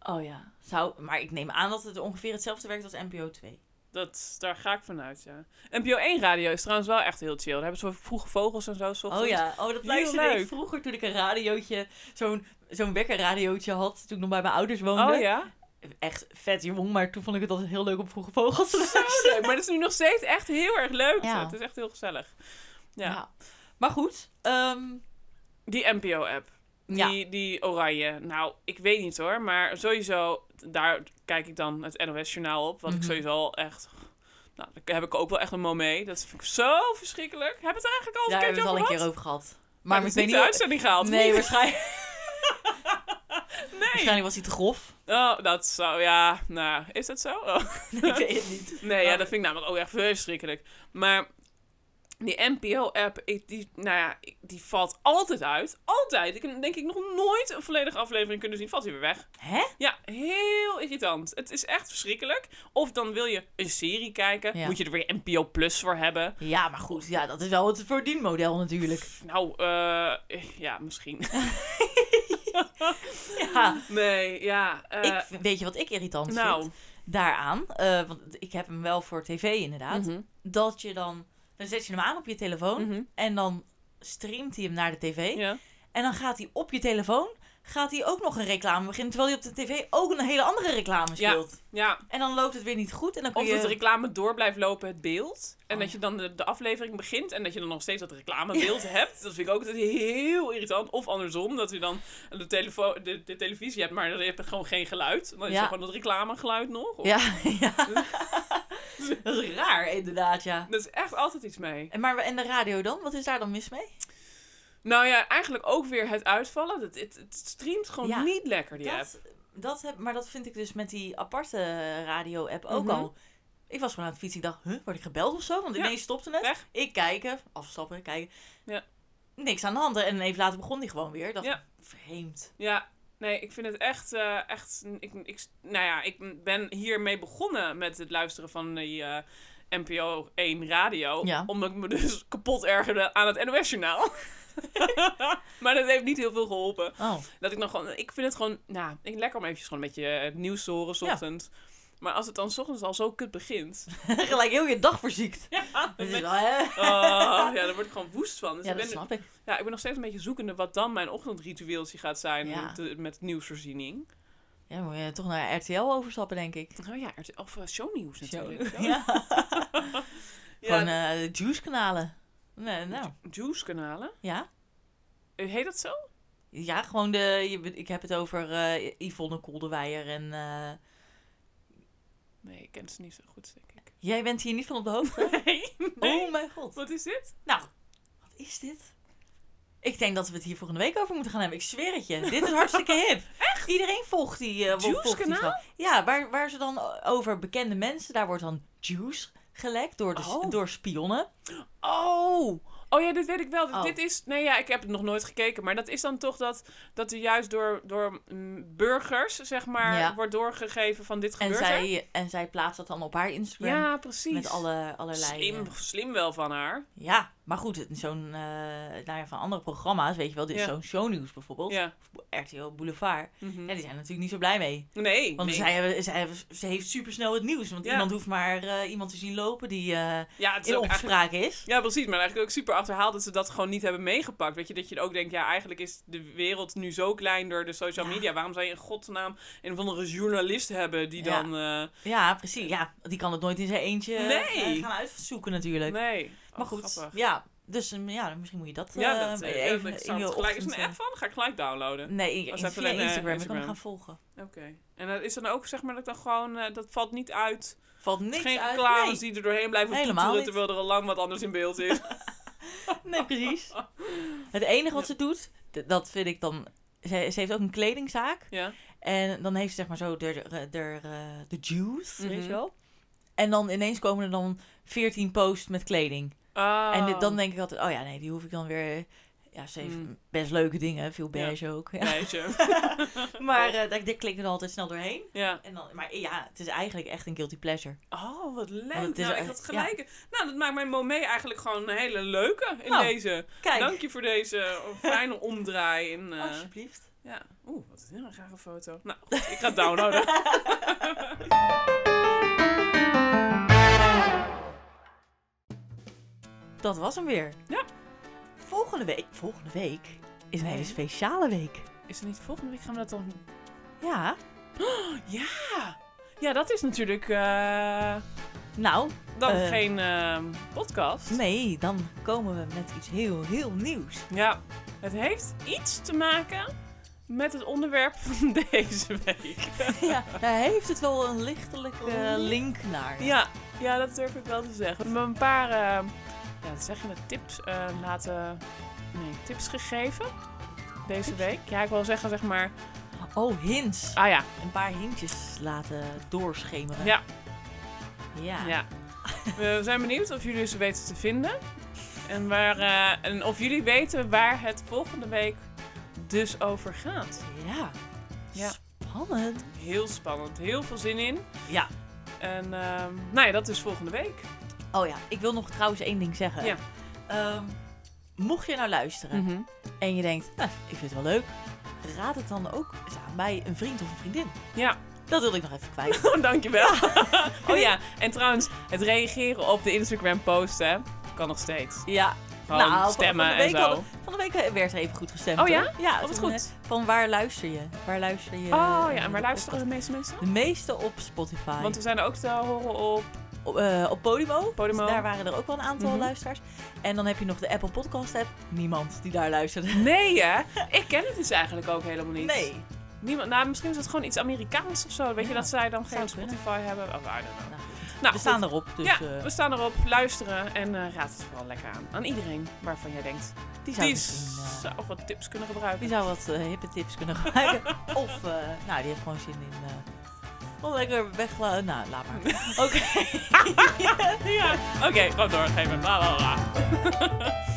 S1: Oh ja. Zou, maar ik neem aan dat het ongeveer hetzelfde werkt als NPO 2.
S3: Dat, daar ga ik vanuit, ja. NPO 1 radio is trouwens wel echt heel chill. Daar hebben ze vroege vogels en zo. 's ochtends.
S1: Oh ja, oh, dat
S3: Heel
S1: luisterde ik
S3: leuk.
S1: vroeger toen ik een radiootje, zo'n zo'n wekkerradiootje had, toen ik nog bij mijn ouders woonde.
S3: Oh ja?
S1: Echt vet jong, maar toen vond ik het altijd heel leuk om vroege vogels te
S3: Zo
S1: luisteren.
S3: leuk. Maar dat is nu nog steeds echt heel erg leuk.
S1: Ja.
S3: Het is echt heel gezellig. Ja.
S1: Ja. Maar goed, ehm,
S3: Die NPO-app.
S1: ja.
S3: Die, die oranje. Nou, ik weet niet hoor. Maar sowieso, daar kijk ik dan het NOS-journaal op. Wat
S1: Mhm.
S3: ik sowieso al echt... Nou, daar heb ik ook wel echt een moment mee. Dat vind ik zo verschrikkelijk. Heb het er eigenlijk al een
S1: daar hebben we
S3: keertje
S1: het al
S3: over
S1: een
S3: gehad?
S1: keer over gehad. Maar
S3: Maar,
S1: ik
S3: het
S1: weet
S3: is niet
S1: niet...
S3: de uitzending gehaald.
S1: nee,
S3: niet?
S1: waarschijnlijk,
S3: nee.
S1: waarschijnlijk was hij te grof.
S3: Oh, dat zou, ja, nou, is dat zo? Oh.
S1: Nee, ik weet het niet.
S3: Nee, ja, dat vind ik namelijk ook echt verschrikkelijk. Maar die NPO-app, ik- die, nou ja, ik- die valt altijd uit. Altijd. Ik heb denk ik nog nooit een volledige aflevering kunnen zien. Valt hij weer weg.
S1: Hè?
S3: Ja, heel irritant. Het is echt verschrikkelijk. Of dan wil je een serie kijken,
S1: Ja.
S3: moet je er weer NPO Plus voor hebben.
S1: Ja, maar goed, ja, dat is wel het verdienmodel natuurlijk.
S3: Nou, eh, ja, misschien.
S1: Ja,
S3: Nee, ja. eh,
S1: ik, vind- weet je wat ik irritant
S3: nou,
S1: vind? Daaraan, eh, want ik heb hem wel voor tv inderdaad.
S3: mhm,
S1: Dat je dan, dan zet je hem aan op je telefoon
S3: mhm,
S1: en dan streamt hij hem naar de tv.
S3: ja.
S1: En dan gaat hij op je telefoon, gaat hij ook nog een reclame beginnen. Terwijl hij op de tv ook een hele andere reclame
S3: Ja.
S1: speelt.
S3: Ja,
S1: En dan loopt het weer niet goed en dan kun
S3: Of
S1: je...
S3: dat de reclame door blijft lopen, het beeld. En
S1: Oh,
S3: dat
S1: ja.
S3: je dan de, de aflevering begint en dat je dan nog steeds dat reclamebeeld hebt. Dat vind ik ook dat heel irritant. Of andersom, dat u dan de, telefo- de, de televisie hebt, maar je hebt gewoon geen geluid. Dan is
S1: Ja.
S3: er gewoon dat reclamegeluid nog. Of-
S1: Ja, ja. dat is raar inderdaad, ja.
S3: Dat is echt altijd iets mee.
S1: En, maar, en de radio dan? Wat is daar dan mis mee?
S3: Nou ja, eigenlijk ook weer het uitvallen. Het, het, het streamt gewoon
S1: Ja.
S3: niet lekker, die app.
S1: Dat, dat heb, maar dat vind ik dus met die aparte radio-app ook
S3: Mhm.
S1: al. Ik was gewoon aan het fietsen. Ik dacht, huh, word ik gebeld of zo? Want
S3: Ja.
S1: ineens stopte het.
S3: Weg.
S1: Ik kijken, afstappen, kijken.
S3: Ja.
S1: Niks aan de hand. En even later begon die gewoon weer. Ik Dacht,
S3: Ja.
S1: vreemd.
S3: Ja, nee, ik vind het echt, eh, echt, ik, ik, nou ja, ik ben hiermee begonnen met het luisteren van die eh, NPO 1 radio.
S1: Ja.
S3: Omdat ik me dus kapot ergerde aan het NOS journaal. maar dat heeft niet heel veel geholpen.
S1: Oh,
S3: Dat ik nog gewoon, ik vind het gewoon, nou, ik lekker om eventjes gewoon een beetje eh, het nieuws te horen 's
S1: Ja.
S3: ochtends. Maar als het dan 's ochtends al zo kut begint.
S1: gelijk heel je dag verziekt.
S3: Ja,
S1: Dat is wel, hè?
S3: oh, ja, daar word ik gewoon woest van. Dus
S1: Ja,
S3: ik,
S1: dat
S3: ben,
S1: snap ik.
S3: ja, ik ben nog steeds een beetje zoekende wat dan mijn ochtendritueeltje gaat zijn
S1: Ja.
S3: met, de- met nieuwsvoorziening.
S1: Ja, dan moet je toch naar RTL overstappen, denk ik.
S3: Oh ja, RTL of eh, shownieuws natuurlijk.
S1: Zo.
S3: Ja.
S1: Ja. Gewoon eh juice-kanalen. Nee, nou,
S3: Juice-kanalen.
S1: ja.
S3: Eh, Heet dat zo?
S1: Ja, gewoon de... Je, ik heb het over eh Yvonne Koldeweijer en... eh,
S3: Nee, ik ken ze niet zo goed, denk ik.
S1: Jij bent hier niet van op de hoogte?
S3: Nee, nee.
S1: Oh mijn god.
S3: Wat is dit?
S1: Nou, wat is dit? Ik denk dat we het hier volgende week over moeten gaan hebben. Ik zweer het je. Dit is hartstikke hip. Echt? Iedereen volgt die... eh,
S3: Juice
S1: volgt die
S3: kanaal?
S1: vrouw. Ja, waar, waar ze dan over bekende mensen... Daar wordt dan juice gelekt door, de,
S3: Oh.
S1: door spionnen.
S3: Oh! Oh ja, dit weet ik wel. Dit-
S1: Oh.
S3: Dit is... Nee, ja, ik heb het nog nooit gekeken. Maar dat is dan toch dat, dat er juist door, door mm, burgers, zeg maar,
S1: Ja.
S3: wordt doorgegeven van dit
S1: En
S3: gebeurt er.
S1: zij, en zij plaatst dat dan op haar Instagram.
S3: Ja, precies.
S1: Met alle, allerlei... eh,
S3: Slim, slim wel van haar.
S1: Ja, Maar goed, het- zo'n, eh, nou ja, van andere programma's, weet je wel, dit
S3: Ja.
S1: zo'n shownieuws bijvoorbeeld,
S3: Ja.
S1: of RTL Boulevard,
S3: Mhm.
S1: ja, die zijn er natuurlijk niet zo blij mee.
S3: Nee.
S1: Want
S3: nee.
S1: zij, hebben- zij hebben- ze heeft supersnel het nieuws. Want
S3: Ja.
S1: iemand hoeft maar eh, iemand te zien lopen die eh
S3: ja, het is
S1: in
S3: ook eigenlijk-
S1: opspraak is.
S3: Ja, precies. Maar eigenlijk ook super achterhaald dat ze dat gewoon niet hebben meegepakt. Weet je, dat je ook denkt, ja, eigenlijk is de wereld nu zo klein door de social
S1: Ja.
S3: media. Waarom zou je in godsnaam een of andere journalist hebben die
S1: Ja.
S3: dan... eh,
S1: Ja, precies. Ja, die kan het nooit in zijn eentje eh,
S3: Nee.
S1: gaan uitzoeken natuurlijk.
S3: nee.
S1: Maar
S3: Oh,
S1: goed,
S3: grappig.
S1: ja. Dus mm, ja, misschien moet je dat,
S3: Ja,
S1: eh,
S3: dat, eh, ja,
S1: even
S3: dat
S1: in
S3: staat
S1: je
S3: gelijk. Is
S1: ochtend,
S3: er een app
S1: eh,
S3: van? Ga ik gelijk downloaden.
S1: Nee, in,
S3: Was
S1: in-
S3: even
S1: via
S3: een, eh,
S1: Instagram. Ik kan
S3: Instagram.
S1: hem gaan volgen.
S3: Oké. En dat is dan ook, zeg maar, dat dan gewoon... eh, dat valt niet uit.
S1: Valt niks
S3: Geen
S1: uit.
S3: reclames
S1: Nee.
S3: die er doorheen blijven
S1: Helemaal
S3: toeteren
S1: niet.
S3: terwijl er al lang wat anders in beeld is.
S1: nee, precies. Het enige wat ze doet, d- dat vind ik dan... Ze, ze heeft ook een kledingzaak.
S3: ja.
S1: En dan heeft ze zeg maar zo de, de, de, eh, de juice, weet
S3: Mhm.
S1: je wel. En dan ineens komen er dan 14 posts met kleding.
S3: Ah.
S1: En dit- dan denk ik altijd, oh ja, nee, die hoef ik dan weer... Ja, ze heeft
S3: Mm.
S1: best leuke dingen, veel beige ook. Ja.
S3: Meisje.
S1: Maar eh daar- daar klik ik er altijd snel doorheen.
S3: ja.
S1: En dan, maar ja, het is eigenlijk echt een guilty pleasure.
S3: Oh,
S1: Want
S3: wat leuk.
S1: het is
S3: Nou, ik
S1: echt-
S3: had
S1: ja.
S3: gelijk. Nou, dat maakt mijn momé eigenlijk gewoon een hele leuke in
S1: Nou,
S3: deze.
S1: Kijk,
S3: Dank je voor deze eh, fijne omdraai. In, eh,
S1: alsjeblieft.
S3: ja. Oeh, wat is dit een rare foto. Nou, goed, ik ga het downloaden.
S1: Dat was hem weer.
S3: Ja.
S1: Volgende week, volgende week is een
S3: Nee.
S1: hele speciale week.
S3: Is er niet volgende week gaan we dat dan...
S1: Ja,
S3: Ja, dat is natuurlijk eh,
S1: nou,
S3: dan
S1: Eh.
S3: geen ehm, podcast.
S1: nee, dan komen we met iets heel, heel nieuws.
S3: Ja, het heeft iets te maken met het onderwerp van deze week.
S1: ja, daar heeft het wel een lichtelijke eh, link naar.
S3: Oh, Ja, ja, dat durf ik wel te zeggen. We hebben een paar eh, ja, wat zeg je, dat, tips, eh, laten, nee, tips gegeven deze week. Ja, ik wil zeggen, zeg maar.
S1: Oh, hints.
S3: Ah ja,
S1: Een paar hintjes laten doorschemeren.
S3: Ja.
S1: Ja.
S3: ja. We zijn benieuwd of jullie ze weten te vinden. En, waar, eh, en of jullie weten waar het volgende week dus over gaat.
S1: Ja.
S3: Ja.
S1: Spannend.
S3: Heel spannend, heel veel zin in.
S1: Ja.
S3: En ehm, nou ja, dat is volgende week.
S1: Oh ja, ik wil nog trouwens één ding zeggen.
S3: Ja. Mhm.
S1: Ehm, mocht je nou luisteren en je denkt, nou, ik vind het wel leuk, raad het dan ook eens aan bij een vriend of een vriendin.
S3: Ja.
S1: Dat wilde ik nog even kwijt.
S3: Oh, dankjewel. oh ja, en trouwens, het reageren op de Instagram-post, hè, kan nog steeds.
S1: ja.
S3: Gewoon
S1: Nou, van-
S3: stemmen
S1: van de week
S3: en zo.
S1: hadden- Van de week eh, werd er even goed gestemd.
S3: Oh ja?
S1: hoor. Ja.
S3: Oh, wat
S1: van,
S3: goed.
S1: eh, Van waar luister je? Waar luister je?
S3: oh ja,
S1: eh,
S3: en waar
S1: de podcast?
S3: luisteren de meeste mensen?
S1: De meeste op Spotify.
S3: Want we zijn er ook te horen op.
S1: op, eh, op Podimo. Dus
S3: Podimo.
S1: daar waren er ook wel een aantal
S3: Mhm.
S1: luisteraars. En dan heb je nog de Apple Podcast app. Niemand die daar luisterde.
S3: Nee, hè? Ik ken het dus eigenlijk ook helemaal niet.
S1: Nee.
S3: Niemand, nou, misschien is het gewoon iets Amerikaans of zo. Weet je
S1: Ja,
S3: dat zij dan
S1: zou
S3: geen
S1: kunnen.
S3: Spotify hebben? Of I don't know.
S1: Nou, goed.
S3: Nou,
S1: we staan erop, dus
S3: ja,
S1: eh,
S3: we staan erop. Luisteren en eh, raad het vooral lekker aan. Aan iedereen waarvan jij denkt.
S1: die zou
S3: Die
S1: misschien... eh,
S3: zou wat tips kunnen
S1: die
S3: gebruiken.
S1: zou wat eh, hippe tips kunnen gebruiken. of, eh, nou, die heeft gewoon zin in... eh wel lekker weglaten. Nou, laat maar. Oké.
S3: Ja, oké, gewoon doorgeven. Bla bla bla.